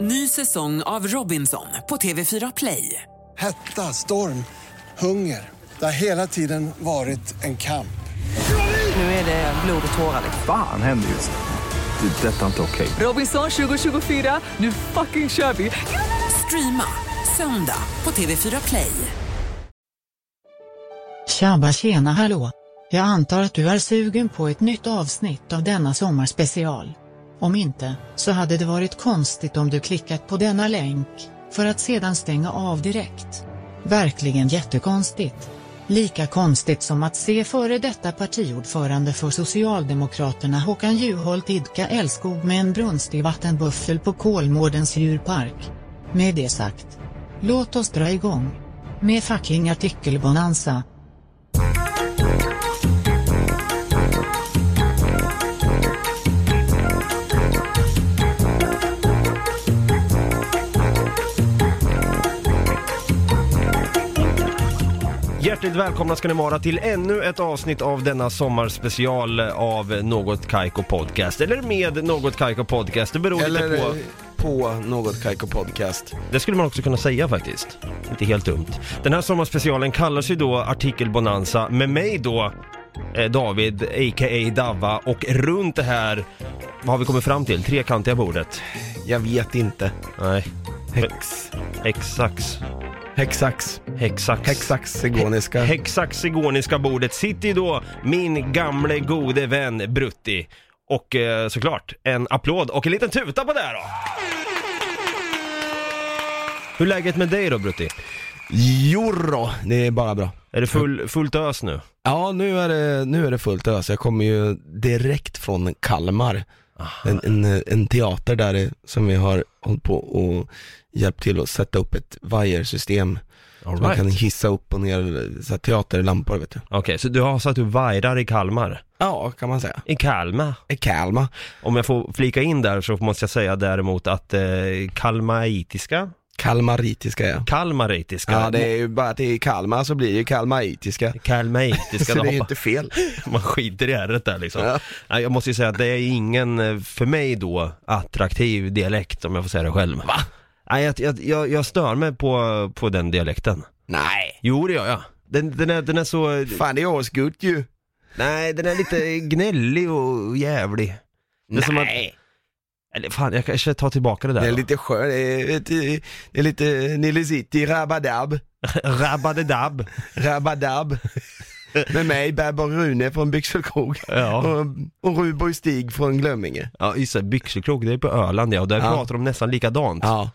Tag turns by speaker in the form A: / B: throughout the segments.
A: Ny säsong av Robinson på TV4 Play.
B: Hetta, storm, hunger. Det har hela tiden varit en kamp.
A: Nu är det blod och tårar. liksom.
C: Fan händer just nu. Det. är Detta är inte okej.
A: Robinson 2024, nu fucking kör vi! Streama söndag på TV4 Play.
D: Tjabba tjena hallå! Jag antar att du är sugen på ett nytt avsnitt av denna sommarspecial. Om inte, så hade det varit konstigt om du klickat på denna länk, för att sedan stänga av direkt. Verkligen jättekonstigt. Lika konstigt som att se före detta partiordförande för Socialdemokraterna Håkan Juholt idka älskog med en brunstig vattenbuffel på Kolmårdens djurpark. Med det sagt, låt oss dra igång. Med fucking artikelbonanza.
E: Hjärtligt välkomna ska ni vara till ännu ett avsnitt av denna sommarspecial av Något Kaiko Podcast. Eller med Något Kaiko Podcast, det beror
F: Eller eh,
E: lite på.
F: på, på något Kaiko podcast.
E: Det skulle man också kunna säga faktiskt. Inte helt dumt. Den här sommarspecialen kallar sig då Artikel Bonanza med mig då eh, David, a.k.a. Davva och runt det här, vad har vi kommit fram till? Trekantiga bordet?
F: Jag vet inte.
E: Nej,
F: Hex.
E: hexax,
F: Hexax.
E: hexax.
F: Hexax sigoniska.
E: hexaxigoniska bordet sitter ju då min gamle gode vän Brutti. Och eh, såklart en applåd och en liten tuta på det här då! Hur är läget med dig då Brutti?
F: Jorå, det är bara bra.
E: Är det full, fullt ös nu?
F: Ja, nu är det, nu är det fullt ös. Jag kommer ju direkt från Kalmar. En, en, en teater där det- som vi har hållit på och hjälpt till att sätta upp ett vajersystem.
E: All
F: Man kan
E: right.
F: hissa upp och ner så här, teaterlampor vet du.
E: Okej, så du har satt upp vajrar i Kalmar?
F: Ja, kan man säga.
E: I Kalmar?
F: I Kalmar.
E: Om jag får flika in där så måste jag säga däremot att eh, kalmaritiska,
F: Kalmaritiska ja.
E: kalmaritiska,
F: Ja, det är ju bara att det är i Kalmar så blir det ju kalmaritiska.
E: kalmaritiska,
F: Så det är
E: då
F: ju
E: hoppa-
F: inte fel.
E: man skiter i ärret där liksom.
F: Ja.
E: Nej, Jag måste ju säga att det är ingen, eh, för mig då, attraktiv dialekt om jag får säga det själv. Va? Nej, jag, jag, jag, jag stör mig på, på den dialekten.
F: Nej.
E: Jo, det gör jag. Den, den, är, den är så,
F: Fan det är asgott ju.
E: nej den är lite gnällig och jävlig. Det är som att, eller fan, jag kanske tar tillbaka det där.
F: Det är
E: då.
F: lite skön, det är, lite- det är lite Nile City, Rabadab,
E: Rabadedab.
F: Rabadab. Med mig Berber Rune från Byxelkrog
E: Ja.
F: och, och Ruborg Stig från Glömminge.
E: ja, just det, byxelkrok, det är på Öland ja, och där
F: Ja.
E: pratar de nästan likadant.
F: Ja,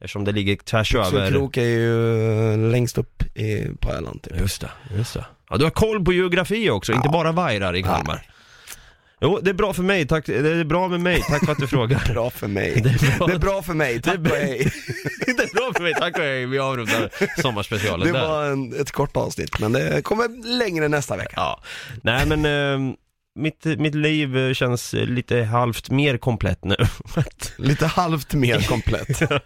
E: Eftersom det ligger tvärs över.
F: Byxelkrok är ju eh, längst upp i, på Öland typ.
E: Just det, just det. Ja, du har koll på geografi också, inte bara vajrar i Kalmar. Jo, det är bra för mig, tack. Det är bra med mig, tack för att du frågar.
F: Bra för mig. Det är bra, för mig, tack och hej.
E: det är bra för mig, tack och hej. Vi avrundar sommarspecialen
F: Det
E: där.
F: var en, ett kort avsnitt men det kommer längre nästa vecka.
E: Ja. Nej men, eh, mitt, mitt liv eh, känns eh, lite halvt mer komplett nu.
F: Lite halvt mer komplett.
E: Nej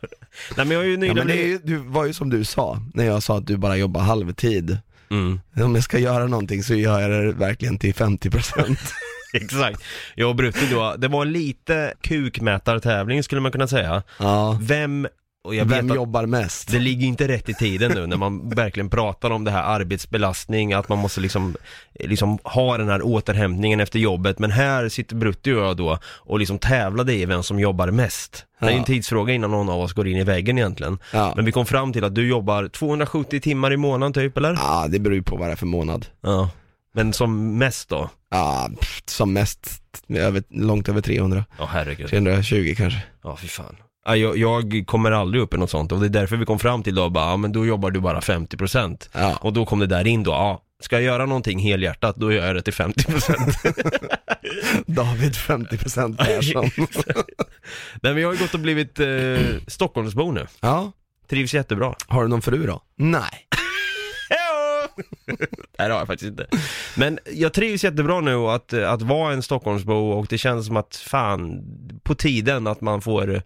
E: men jag har ju
F: Ja,
E: nyligen...
F: men det är ju, du var ju som du sa, när jag sa att du bara jobbar halvtid.
E: mm.
F: Om jag ska göra någonting så gör jag det verkligen till 50%
E: Exakt. Jag och Brutti då, det var lite kukmätartävling skulle man kunna säga.
F: Ja,
E: Vem, och jag
F: vem
E: vet att
F: jobbar mest?
E: det ligger inte rätt i tiden nu när man verkligen pratar om det här arbetsbelastning, att man måste liksom, liksom ha den här återhämtningen efter jobbet. Men här sitter Brutti och jag då och liksom tävlade i vem som jobbar mest. Det är ju en
F: Ja.
E: tidsfråga innan någon av oss går in i väggen egentligen.
F: Ja.
E: Men vi kom fram till att du jobbar 270 timmar i månaden typ, eller?
F: Ja, det beror ju på vad det är för månad.
E: Ja. Men som mest då?
F: Ja, pff, som mest över, långt över 300.
E: Ja, herregud.
F: 320 kanske.
E: Ja, fy fan. Ja, Jag, jag kommer aldrig upp i något sånt och det är därför vi kom fram till då, bara, ja, men då jobbar du bara 50%
F: Ja.
E: och då kom det där in då, ja, ska jag göra någonting helhjärtat då gör jag det till 50%
F: David 50% Persson.
E: Nej men jag har ju gått och blivit eh, Stockholmsbo nu,
F: ja,
E: trivs jättebra
F: har du någon fru då? Nej.
E: Nej det har jag faktiskt inte Men jag trivs jättebra nu och att, att vara en Stockholmsbo och det känns som att fan, på tiden att man får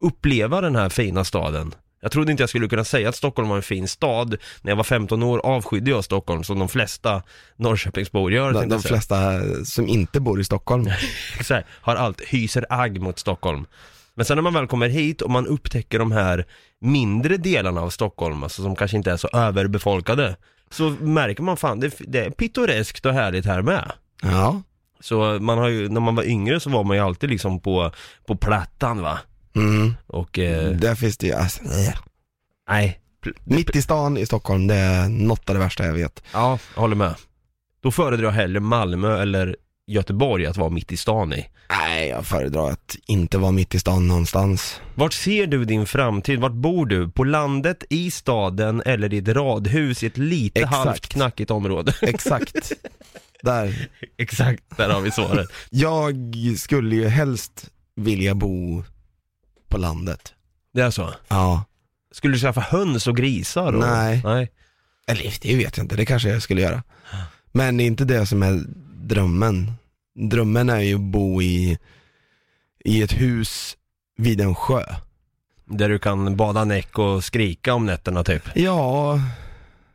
E: uppleva den här fina staden Jag trodde inte jag skulle kunna säga att Stockholm var en fin stad När jag var 15 år avskydde jag Stockholm som de flesta Norrköpingsbor gör
F: De,
E: tänkte
F: de
E: jag säga.
F: flesta som inte bor i Stockholm.
E: så här, har allt, hyser agg mot Stockholm. Men sen när man väl kommer hit och man upptäcker de här mindre delarna av Stockholm, alltså som kanske inte är så överbefolkade, så märker man fan, det, det är pittoreskt och härligt här med.
F: Ja.
E: Så man har ju, när man var yngre så var man ju alltid liksom på, på Plattan va?
F: Mm.
E: Och, eh,
F: Där finns det ju, alltså, eh.
E: nej.
F: mitt i stan i Stockholm, det är något av det värsta jag vet.
E: Ja, jag håller med. Då föredrar jag hellre Malmö eller Göteborg att vara mitt i stan i.
F: Nej, jag föredrar att inte vara mitt i stan någonstans.
E: Vart ser du din framtid? Vart bor du? På landet, i staden eller i ett radhus i ett lite
F: Exakt.
E: halvt knackigt område?
F: Exakt. Där.
E: Exakt, där har vi svaret.
F: Jag skulle ju helst vilja bo på landet.
E: Det är så?
F: Ja.
E: Skulle du skaffa höns och grisar? Och...
F: Nej.
E: Nej.
F: Eller det vet jag inte, det kanske jag skulle göra. Men det är inte det som är drömmen. Drömmen är ju att bo i, i ett hus vid en sjö.
E: Där du kan bada näck och skrika om nätterna typ.
F: Ja,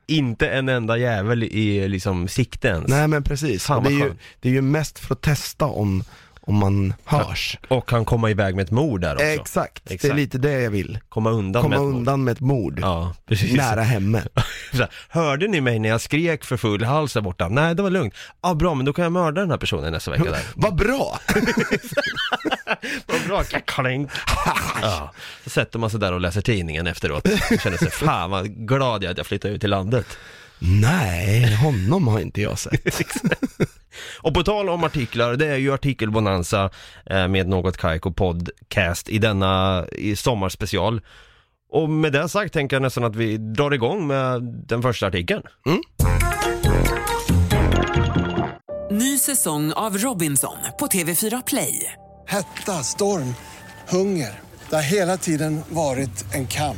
E: Inte en enda jävel i liksom sikte ens.
F: nej men precis.
E: Fan,
F: det,
E: vad
F: är ju,
E: skönt.
F: det är ju mest för att testa om, om man hörs.
E: Och kan komma iväg med ett mord där också.
F: Exakt, det är
E: Exakt.
F: lite det jag vill.
E: komma undan
F: Komma
E: med ett mord.
F: undan med ett mord.
E: Ja, precis.
F: Nära hemmet.
E: Så här, Hörde ni mig när jag skrek för full hals där borta? Nej, det var lugnt. Ja, ah, bra, men då kan jag mörda den här personen nästa vecka där.
F: Vad bra!
E: Vad bra, klänk. Ja, så sätter man sig där och läser tidningen efteråt. Man Känner sig, fan vad glad jag är att jag flyttade ut till landet.
F: Nej, honom har inte jag sett.
E: Och på tal om artiklar, det är ju artikelbonanza eh, med Något Kaiko Podcast i denna i sommarspecial. Och med det sagt tänker jag nästan att vi drar igång med den första artikeln.
A: Ny säsong av Robinson på TV4 Play.
B: Hetta, storm, hunger. Det har hela tiden varit en kamp.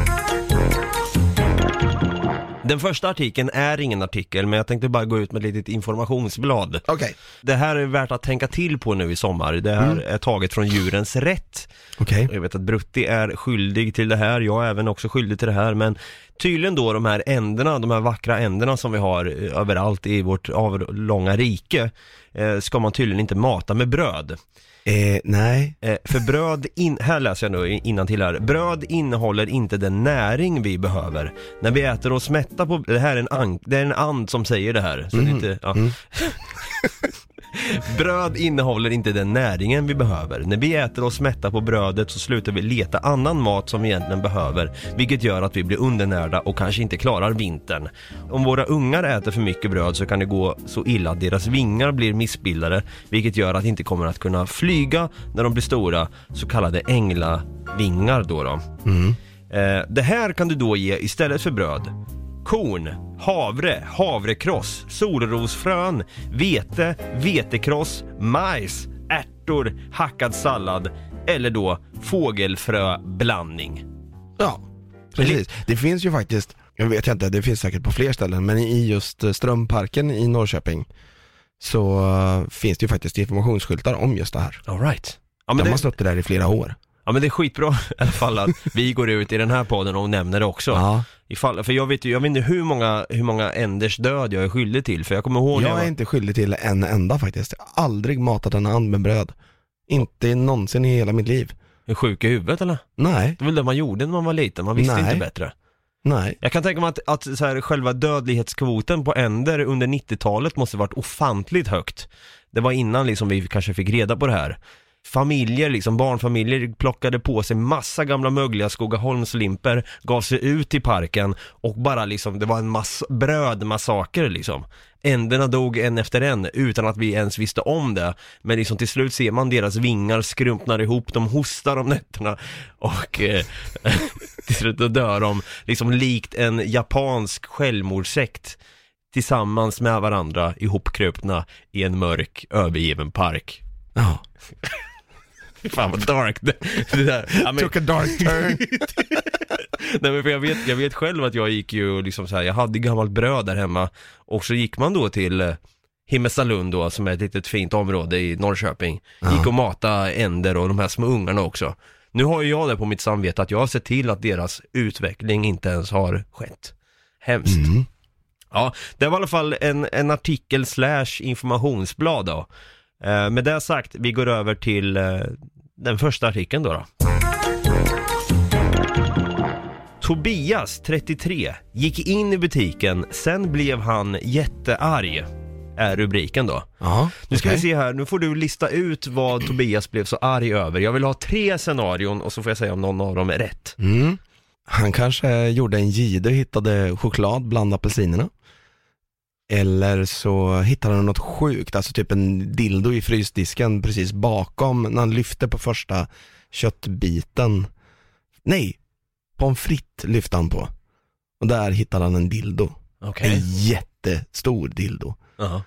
E: Den första artikeln är ingen artikel, men jag tänkte bara gå ut med ett litet informationsblad.
F: Okej.
E: Det här är värt att tänka till på nu i sommar. Det här är taget från Djurens Rätt.
F: Okej.
E: Och Jag vet att Brutti är skyldig till det här, jag är även också skyldig till det här, men tydligen då de här änderna, de här vackra änderna som vi har eh, överallt i vårt avlånga rike, eh, ska man tydligen inte mata med bröd.
F: Eh, nej.
E: Eh, för bröd, in, här läser jag nu innan till här. Bröd innehåller inte den näring vi behöver. När vi äter oss mätta på, det här är en, an, det är en and som säger det här. Så det är inte, ja. bröd innehåller inte den näringen vi behöver. När vi äter oss mätta på brödet så slutar vi leta annan mat som vi egentligen behöver, vilket gör att vi blir undernärda och kanske inte klarar vintern. Om våra ungar äter för mycket bröd så kan det gå så illa att deras vingar blir missbildade, vilket gör att de inte kommer att kunna flyga när de blir stora, så kallade änglavingar då. då. Eh, det här kan du då ge istället för bröd. Korn, havre, havrekross, solrosfrön, vete, vetekross, majs, ärtor, hackad sallad eller då fågelfröblandning.
F: Ja, precis. Det finns ju faktiskt, jag vet inte, det finns säkert på fler ställen, men i just eh, Strömparken i Norrköping så eh, finns det ju faktiskt informationsskyltar om just det här.
E: All right. Ja men,
F: De
E: det,
F: har stått där i flera år.
E: ja men det är skitbra i alla fall att vi går ut i den här podden och nämner det också.
F: Ja.
E: Ifall, för jag vet ju, jag vet inte hur många, hur många änders död jag är skyldig till, för jag kommer ihåg när jag
F: Jag
E: var-
F: är inte skyldig till en enda faktiskt. Jag har aldrig matat en and med bröd. Inte någonsin i hela mitt liv.
E: är sjuk i huvudet eller?
F: Nej,
E: Det var väl det man gjorde när man var liten, man visste
F: Nej.
E: inte bättre.
F: nej.
E: Jag kan tänka mig att, att så här, själva dödlighetskvoten på änder under 90-talet måste varit ofantligt högt. Det var innan liksom vi kanske fick reda på det här. Familjer, liksom barnfamiljer plockade på sig massa gamla mögliga Skogaholmslimper, gav sig ut i parken och bara liksom, det var en mass- brödmassaker liksom. Änderna dog en efter en utan att vi ens visste om det. Men liksom till slut ser man deras vingar skrumpnar ihop, de hostar om nätterna och eh, till slut då dör de liksom likt en japansk självmordssekt tillsammans med varandra ihopkrupna i en mörk övergiven park.
F: Ja.
E: Fan vad dark det, det där. Ja, men-
F: Took a dark turn.
E: Nej men för jag vet, jag vet själv att jag gick ju och liksom så här, jag hade gammalt bröd där hemma och så gick man då till eh, Himmelsalund då, som är ett litet fint område i Norrköping. Gick och matade änder och de här små ungarna också. Nu har ju jag det på mitt samvete att jag har sett till att deras utveckling inte ens har skett. Hemskt. Ja, det var i alla fall en, en artikel slash informationsblad då. Eh, med det sagt, vi går över till eh, den första artikeln då. då. Tobias, 33, gick in i butiken, sen blev han jättearg. Är rubriken då.
F: Ja,
E: Nu ska
F: okej.
E: vi se här, nu får du lista ut vad Tobias blev så arg över. Jag vill ha tre scenarion och så får jag säga om någon av dem är rätt.
F: Mm. Han kanske gjorde en gide och hittade choklad bland apelsinerna. Eller så hittade han något sjukt, alltså typ en dildo i frysdisken precis bakom när han lyfte på första köttbiten. Nej, pommes frites lyfte han på. Och där hittade han en dildo. En
E: Okej.
F: jättestor dildo.
E: Ja.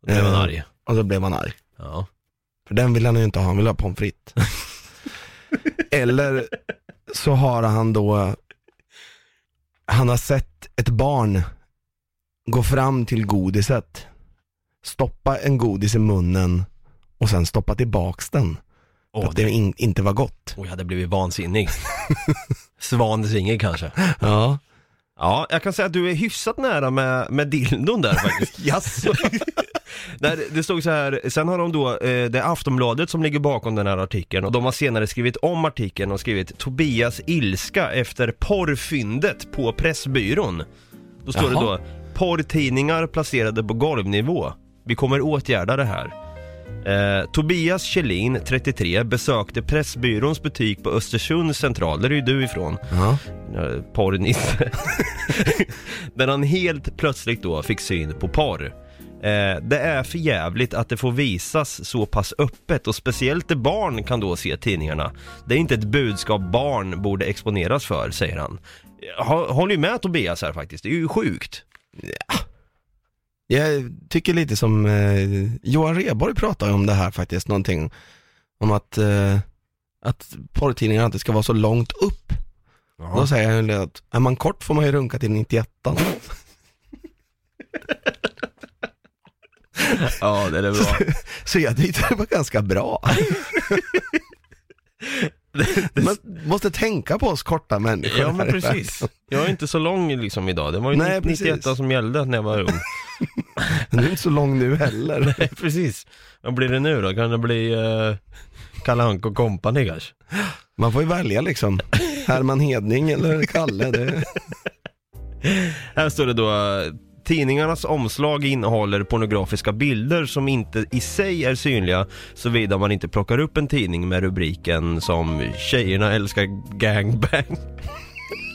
E: Då blev han
F: Eh,
E: arg.
F: Och så blev han arg.
E: Ja.
F: För den vill han ju inte ha, han vill ha pommes frites. Eller så har han då, han har sett ett barn gå fram till godiset, stoppa en godis i munnen och sen stoppa tillbaks den. För
E: Åh,
F: att det
E: det...
F: in, inte var gott.
E: Åh, jag hade blivit vansinnig. Svansinger kanske.
F: Ja.
E: Ja, jag kan säga att du är hyfsat nära med, med dildon där faktiskt. Jaså? Där, det stod så här, sen har de då, eh, det är Aftonbladet som ligger bakom den här artikeln och de har senare skrivit om artikeln och skrivit Tobias ilska efter porrfyndet på Pressbyrån. Då står det
F: Jaha.
E: då, porrtidningar placerade på golvnivå. Vi kommer åtgärda det här. Eh, Tobias Kjellin, 33, besökte Pressbyråns butik på Östersund central, där är ju du ifrån.
F: Ja.
E: Eh, porrnisse. Där han helt plötsligt då fick syn på porr. Eh, det är för jävligt att det får visas så pass öppet och speciellt där barn kan då se tidningarna. Det är inte ett budskap barn borde exponeras för, säger han. Jag hå- håller ju med Tobias här faktiskt, det är ju sjukt.
F: Jag tycker lite som eh, Johan Rheborg pratade om det här faktiskt, någonting om att, eh, att porrtidningarna inte ska vara så långt upp Då säger han ju att är man kort får man ju runka till 91
E: Ja, det är bra.
F: Så jag tyckte det var ganska bra. Man måste tänka på oss korta människor.
E: Ja men
F: här i
E: precis. Jag är inte så lång liksom idag, det var ju
F: Nej,
E: 91
F: precis.
E: som gällde när jag var ung.
F: världen. Du är inte så lång nu heller.
E: Nej, precis. Vad blir det nu då? Kan det bli uh, Kalle Anka och Company kanske?
F: Man får ju välja liksom. Herman Hedning eller Kalle. Det...
E: Här står det då eh, Tidningarnas omslag innehåller pornografiska bilder som inte i sig är synliga såvida man inte plockar upp en tidning med rubriken som “Tjejerna älskar gangbang”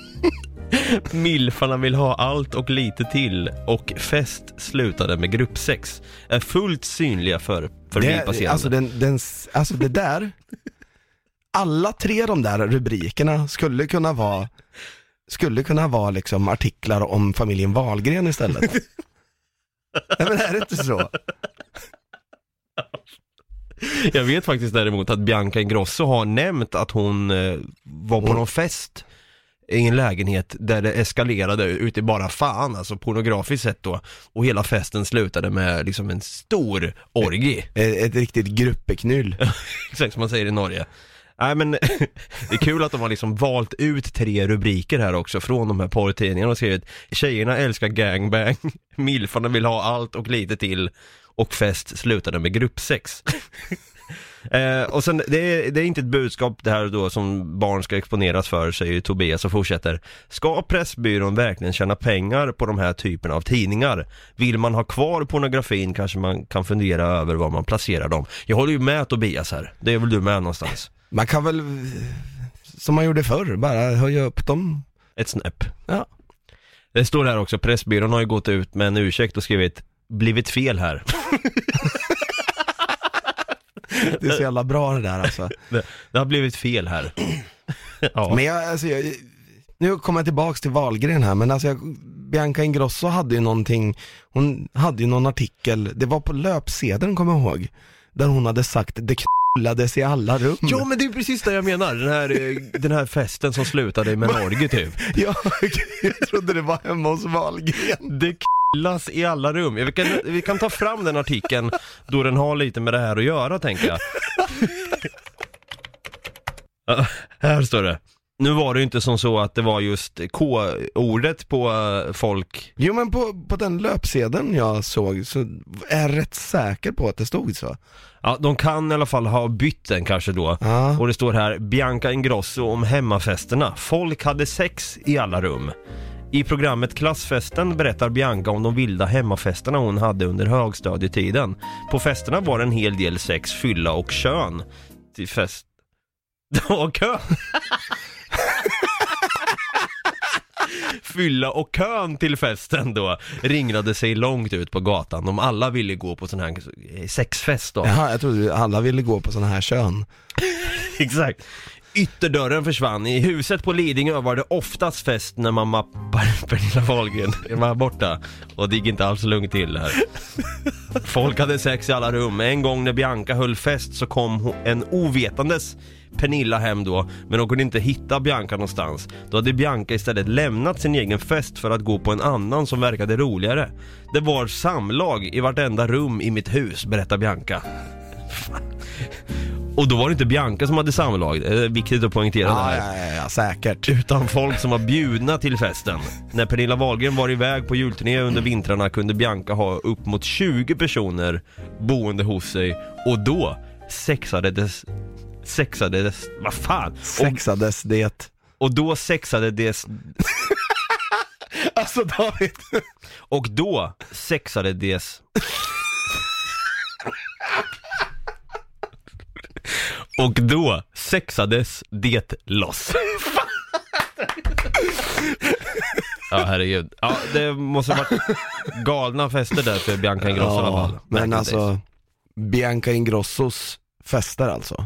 E: “Milfarna vill ha allt och lite till” och “Fest slutade med gruppsex” är fullt synliga för förbipasserande.
F: Det, alltså, den, den, alltså det där, alla tre de där rubrikerna skulle kunna vara, skulle kunna vara liksom artiklar om familjen Wahlgren istället. Nej men är det inte så?
E: Jag vet faktiskt däremot att Bianca Ingrosso har nämnt att hon eh, var på någon fest i en lägenhet där det eskalerade ut i bara fan, alltså pornografiskt sett då. Och hela festen slutade med liksom en stor orgie,
F: Ett, ett riktigt gruppeknull.
E: exakt som man säger i Norge. Nej men, det är kul att de har liksom valt ut tre rubriker här också från de här porrtidningarna och skrivit Tjejerna älskar gangbang, milfarna vill ha allt och lite till och fest slutade med gruppsex. Eh, och sen, det är, det är inte ett budskap det här då som barn ska exponeras för, säger Tobias och fortsätter. Ska Pressbyrån verkligen tjäna pengar på de här typen av tidningar? Vill man ha kvar pornografin kanske man kan fundera över var man placerar dem. Jag håller ju med Tobias här, det är väl du med någonstans?
F: Man kan väl, som man gjorde förr, bara höja upp dem.
E: Ett snäpp.
F: Ja.
E: Det står här också, Pressbyrån har ju gått ut med en ursäkt och skrivit blivit fel här.
F: Det är så jävla bra det där alltså.
E: Det, det har blivit fel här. ja.
F: Men jag, alltså jag, nu kommer jag tillbaks till Wahlgren här, men alltså jag, Bianca Ingrosso hade ju någonting, hon hade ju någon artikel, det var på löpsedeln kommer jag ihåg, där hon hade sagt det knullades i alla rum.
E: Ja men det är precis det jag menar, den här, eh, den här festen som slutade med Norge typ.
F: Ja, jag trodde det var hemma hos Wahlgren.
E: Det killas i alla rum. Ja, Vi kan, vi kan ta fram den artikeln då den har lite med det här att göra tänker jag. Ja, här står det. Nu var det ju inte som så att det var just K-ordet på eh, folk.
F: Jo men på, på den löpsedeln jag såg så är jag rätt säker på att det stod så.
E: Ja, de kan i alla fall ha bytt den kanske då.
F: Ja.
E: Och det står här Bianca Ingrosso om hemmafesterna. Folk hade sex i alla rum. I programmet Klassfesten berättar Bianca om de vilda hemmafesterna hon hade under högstadietiden. På festerna var det en hel del sex, fylla och kön. Till fest... Och kön! Fylla och kön till festen då ringrade sig långt ut på gatan. De alla ville gå på sån här sexfest då.
F: Jaha, jag trodde alla ville gå på sån här kön.
E: Exakt. Ytterdörren försvann. I huset på Lidingö var det oftast fest när mamma Per- Pernilla Wahlgren var borta. Och det gick inte alls lugnt till här. Folk hade sex i alla rum. En gång när Bianca höll fest så kom hon- en ovetandes Pernilla hem då, men hon kunde inte hitta Bianca någonstans. Då hade Bianca istället lämnat sin egen fest för att gå på en annan som verkade roligare. Det var samlag i vartenda rum i mitt hus, berättar Bianca. Och då var det inte Bianca som hade samlag, eh, viktigt att poängtera det här.
F: ja, ja, ja, säkert.
E: Utan folk som var bjudna till festen. När Pernilla Wahlgren var iväg på julturné under vintrarna kunde Bianca ha upp mot 20 personer boende hos sig och då sexades sexades, vad fan? Och,
F: Sexades det.
E: och då sexade det
F: Alltså David.
E: och då sexade det Och då sexades det loss. Ja herregud. Ja, det måste ha varit galna fester där för Bianca Ingrosso i alla fall.
F: men
E: Back in days.
F: alltså, Bianca Ingrossos fester alltså.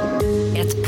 G: Ett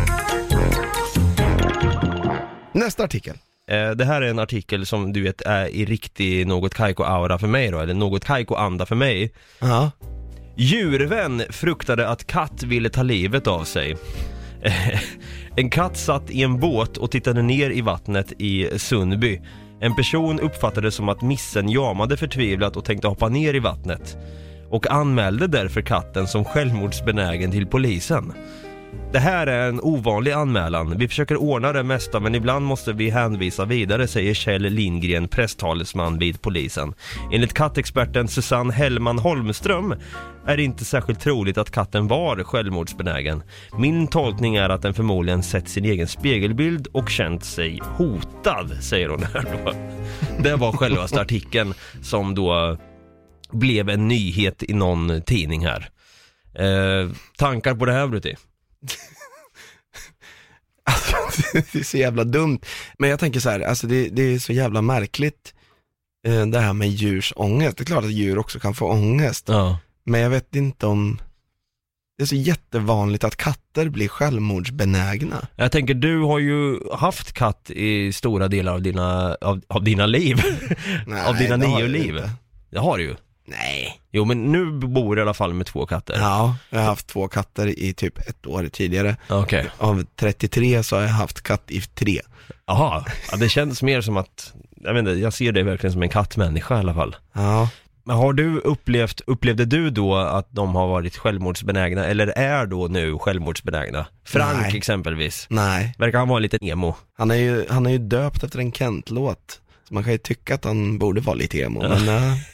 F: Nästa artikel.
E: Eh, Det här är en artikel som du vet är i riktig något Kaiko-aura för mig då, eller något Kaiko-anda för mig.
F: Ja.
E: Djurvän fruktade att katt ville ta livet av sig. En katt satt i en båt och tittade ner i vattnet i Sundby. En person uppfattade som att missen jamade förtvivlat och tänkte hoppa ner i vattnet och anmälde därför katten som självmordsbenägen till polisen. Det här är en ovanlig anmälan. Vi försöker ordna det mesta men ibland måste vi hänvisa vidare, säger Kjell Lindgren, presstalesman vid polisen. Enligt kattexperten Susanne Hellman Holmström är det inte särskilt troligt att katten var självmordsbenägen. Min tolkning är att den förmodligen sett sin egen spegelbild och känt sig hotad, säger hon här då. Det var självaste artikeln som då blev en nyhet i någon tidning här. Eh, tankar på det här Brutti?
F: det är så jävla dumt. Men jag tänker så här, alltså det, det är så jävla märkligt eh, det här med djurs ångest. Det är klart att djur också kan få ångest.
E: Ja.
F: Men jag vet inte om, det är så jättevanligt att katter blir självmordsbenägna.
E: Jag tänker, du har ju haft katt i stora delar av dina, av, av dina liv.
F: Nej,
E: av dina
F: det har
E: nio
F: jag
E: liv.
F: inte.
E: Det har du ju.
F: Nej.
E: Jo men nu bor du i alla fall med två katter.
F: Ja, jag har haft två katter i typ ett år tidigare.
E: Okej.
F: Av 33 så har jag haft katt i tre.
E: Jaha, ja, det känns mer som att jag vet inte, jag ser dig verkligen som en kattmänniska i alla fall.
F: Ja.
E: Men har du upplevt, upplevde du då att de har varit självmordsbenägna eller är då nu självmordsbenägna? Frank
F: Nej.
E: exempelvis,
F: Nej.
E: verkar han vara lite emo?
F: Han är ju, han är ju döpt efter en Kent-låt. Så man kan ju tycka att han borde vara lite emo, men eh, nej.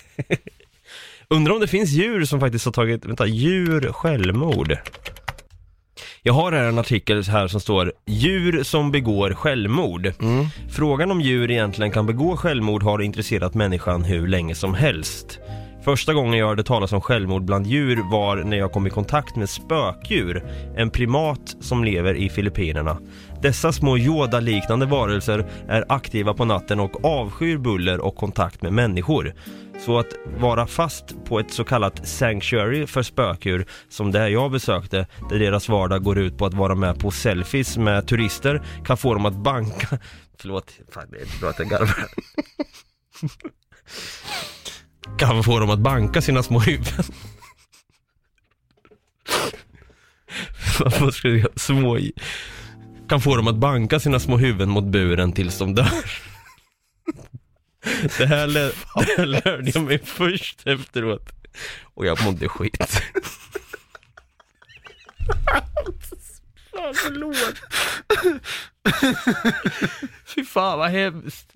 E: Undrar om det finns djur som faktiskt har tagit, vänta, djur självmord? Jag har här en artikel här som står Djur som begår självmord. Frågan om djur egentligen kan begå självmord har intresserat människan hur länge som helst. Första gången jag hörde talas om självmord bland djur var när jag kom i kontakt med spökdjur, en primat som lever i Filippinerna. Dessa små Yoda-liknande varelser är aktiva på natten och avskyr buller och kontakt med människor. Så att vara fast på ett så kallat sanctuary för spökdjur som det här jag besökte, där deras vardag går ut på att vara med på selfies med turister, kan få dem att banka... Förlåt, fan det är inte bra att jag garvar. kan få dem att banka sina små huvuden. Vad ska jag säga? Små... Kan få dem att banka sina små huvuden mot buren tills de dör. Det här, lär, det här lärde jag mig först efteråt. Och jag mådde skit. Fan, förlåt. Fy fan vad hemskt.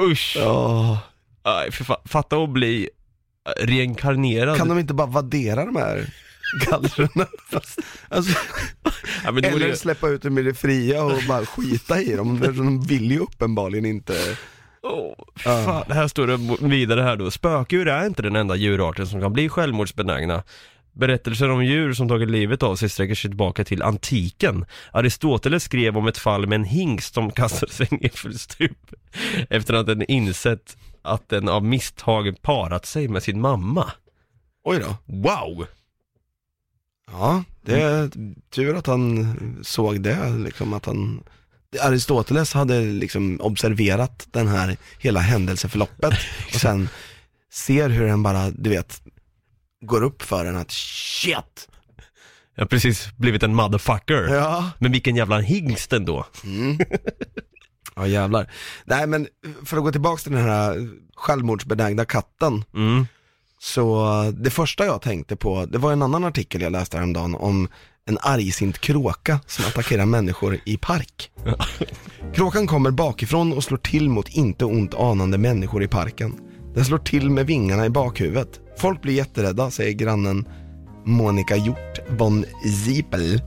E: Usch.
F: Åh.
E: Aj, fy fan. Fatta att bli eh, reinkarnerad.
F: Kan de inte bara vaddera de här gallren? alltså,
E: ja, men det vore
F: eller
E: ju-
F: släppa ut dem i det fria och bara skita i dem, för de vill ju uppenbarligen inte.
E: Åh, fan, här står det vidare här då. Spökdjur är inte den enda djurarten som kan bli självmordsbenägna. Berättelser om djur som tagit livet av sig sträcker sig tillbaka till antiken. Aristoteles skrev om ett fall med en hingst som kastade sig ner för ett stup efter att den insett att den av misstag parat sig med sin mamma.
F: Oj då.
E: Wow!
F: Ja, det är tur att han såg det, liksom att han Aristoteles hade liksom observerat den här hela händelseförloppet och sen ser hur den bara, du vet, går upp för den att shit!
E: Jag har precis blivit en motherfucker.
F: Ja.
E: Men vilken jävla hingst ändå.
F: Ja jävlar. Nej men för att gå tillbaka till den här eh, självmordsbenägna katten.
E: Mm.
F: Så eh, det första jag tänkte på, det var en annan artikel jag läste häromdagen om en argsint kråka som attackerar människor i park. Kråkan kommer bakifrån och slår till mot inte ont anande människor i parken. Den slår till med vingarna i bakhuvudet. Folk blir jätterädda, säger grannen Monica Hjort von Ziepel.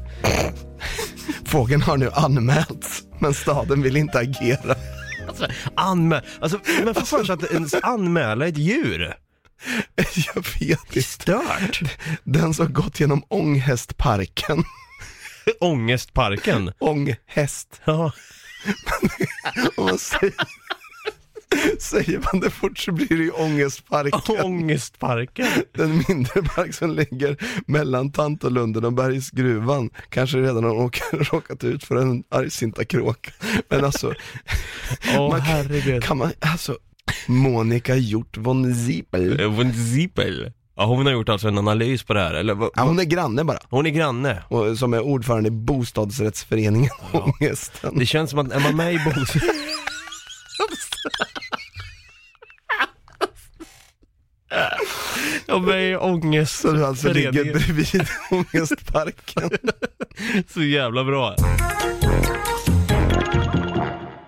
F: Fågeln har nu anmälts, men staden vill inte agera.
E: Anmäl... Alltså, men får för sig att ens anmäla ett djur.
F: Jag vet
E: Det är
F: inte.
E: stört.
F: Den som gått genom Ånghästparken,
E: Ångestparken.
F: Ånghäst,
E: Ja.
F: om man säger, säger man det fort så blir det ju Ångestparken.
E: Ångestparken.
F: Den mindre park som ligger mellan Tantolunden och Bergsgruvan kanske redan har åkat, råkat ut för en argsinta kråka. Men alltså,
E: Åh
F: Man-
E: herregud.
F: kan man, alltså, Monica Hjort von Ziepel.
E: Von Zippel. Ja, hon har gjort alltså en analys på det här, eller? vad-
F: Ja, hon är granne bara,
E: Hon är granne.
F: och, som är ordförande i bostadsrättsföreningen Ångesten.
E: Det känns som att, är man med i bostads... Ja, med i ångest.
F: Så du alltså
E: Föreningen.
F: ligger bredvid Ångestparken.
E: Så jävla bra.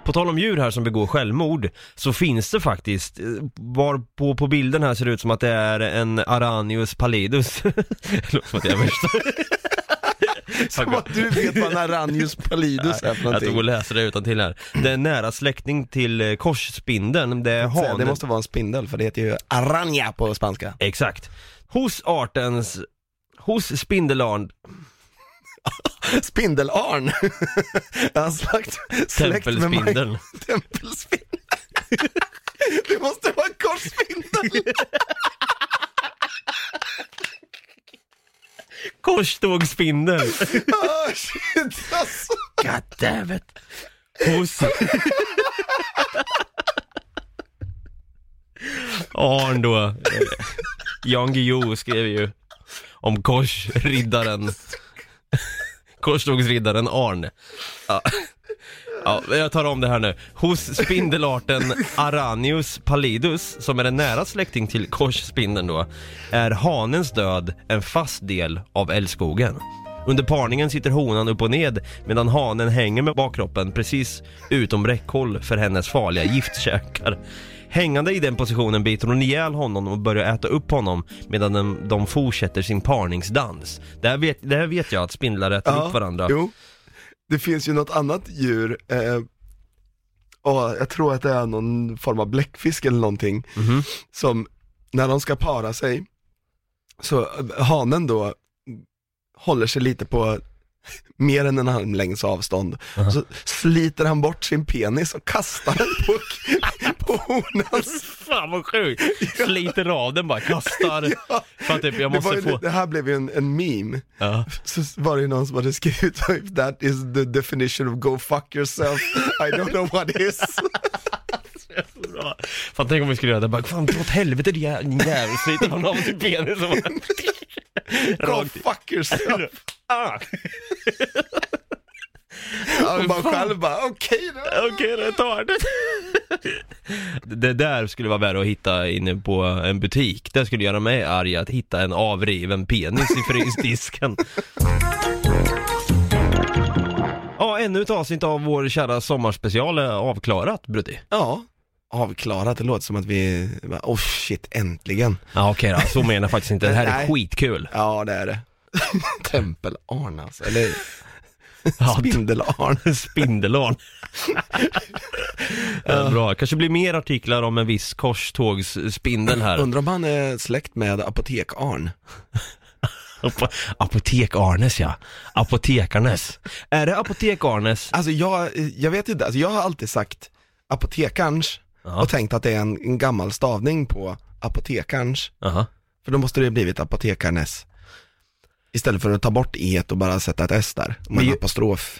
E: På tal om djur här som begår självmord så finns det faktiskt, eh, var på, på bilden här ser det ut som att det är en Aranius pallidus. Det låter som att jag är värsta.
F: Som att du vet vad en Arrhenius pallidus är
E: Jag
F: för
E: tog och
F: någonting.
E: läser det utantill här. Det är nära släkting till eh, korsspindeln, det är
F: Säga,
E: hanen.
F: Det måste vara en spindel för det heter ju aranja på spanska.
E: Exakt. Hos artens, hos spindelarn,
F: Spindelarn! Är han släkt, släkt med Mike-
E: tempelspindeln.
F: Tempelspindeln. Det måste vara en korsspindel!
E: Korstågsspindeln.
F: Ah, shit alltså!
E: God damn it. Hos... Arn då. eh, Jan Guillou skrev ju om korsriddaren. Korstågsriddaren Arn. Ja. Ja, jag tar om det här nu. Hos spindelarten Aranius pallidus, som är en nära släkting till korsspindeln då, är hanens död en fast del av älskogen. Under parningen sitter honan upp och ned medan hanen hänger med bakkroppen precis utom räckhåll för hennes farliga giftkäkar. Hängande i den positionen biter hon ihjäl honom och börjar äta upp honom medan de, de fortsätter sin parningsdans. Det här vet, det här vet jag att spindlar äter upp varandra.
F: Jo. Det finns ju något annat djur, eh, åh, jag tror att det är någon form av bläckfisk eller någonting,
E: Mhm.
F: som när de ska para sig, så eh, hanen då håller sig lite på mer än en armlängds avstånd, så sliter han bort sin penis och kastar den på, på honans.
E: Fan vad sjukt! Sliter av den bara, kastar. Fan typ, jag
F: Det, var
E: måste
F: ju,
E: få...
F: det här blev ju en, en meme.
E: Ja.
F: så var det ju någon som hade skrivit typ that is the definition of go fuck yourself, I don't know what is.
E: Bra. Fan tänk om vi skulle göra det bara, fan dra åt helvete din jä- jävel, sliter man av sin penis och bara...
F: go
E: Rakt i-
F: fuck yourself.
E: Ah,
F: Och man själv bara okej då.
E: Okej, det tar det. Det där skulle vara värre att hitta inne på en butik. Det skulle göra mig arg att hitta en avriven penis i frysdisken. Ja, ännu ett avsnitt av vår kära sommarspecial är avklarat, Brutti.
F: Ja, avklarat, det låter som att vi, bara, oh shit äntligen.
E: Ja okej då, så menar jag faktiskt inte. Det här är
F: Nej.
E: skitkul.
F: Ja det är det. Tempel-Arn alltså, eller
E: Ja,
F: Spindel-Arn.
E: Spindelarn. Eh, Bra, kanske blir mer artiklar om en viss korstågsspindel här.
F: Undrar om han är släkt med Apotek-Arn.
E: Ap- Apotek Arnes ja. Apotekarnes. Är det Apotek Arnes?
F: Alltså jag, jag vet inte, alltså jag har alltid sagt apotekarns
E: Ja.
F: och tänkt att det är en, en gammal stavning på apotekarns.
E: Aha.
F: För då måste det ju blivit apotekarnes. Istället för att ta bort e och bara sätta ett s där, med en
E: Vi-
F: apostrof.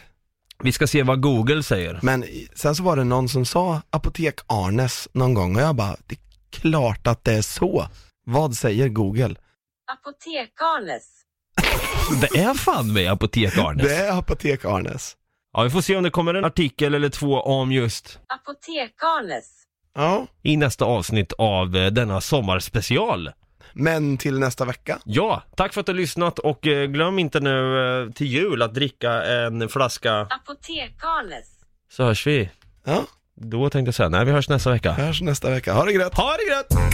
E: Vi ska se vad Google säger.
F: Men i- sen så var det någon som sa apotek-Arnes någon gång och jag bara, det är klart att det är så. Vad säger Google?
G: Apotekarnes.
E: Det är fan med Apotek Arnes.
F: Det är apotek-Arnes.
E: Ja, vi får se om det kommer en artikel eller två om just
G: Apotekarnes.
F: Ja.
E: i nästa avsnitt av eh, denna sommarspecial.
F: Men till nästa vecka.
E: Ja, tack för att du har lyssnat och eh, glöm inte nu eh, till jul att dricka en flaska
G: Apotekarnes.
E: så hörs vi.
F: Ja,
E: Då tänkte jag säga, nej vi hörs nästa vecka.
F: hörs nästa vecka. Ha det grött!
E: Ha det gött!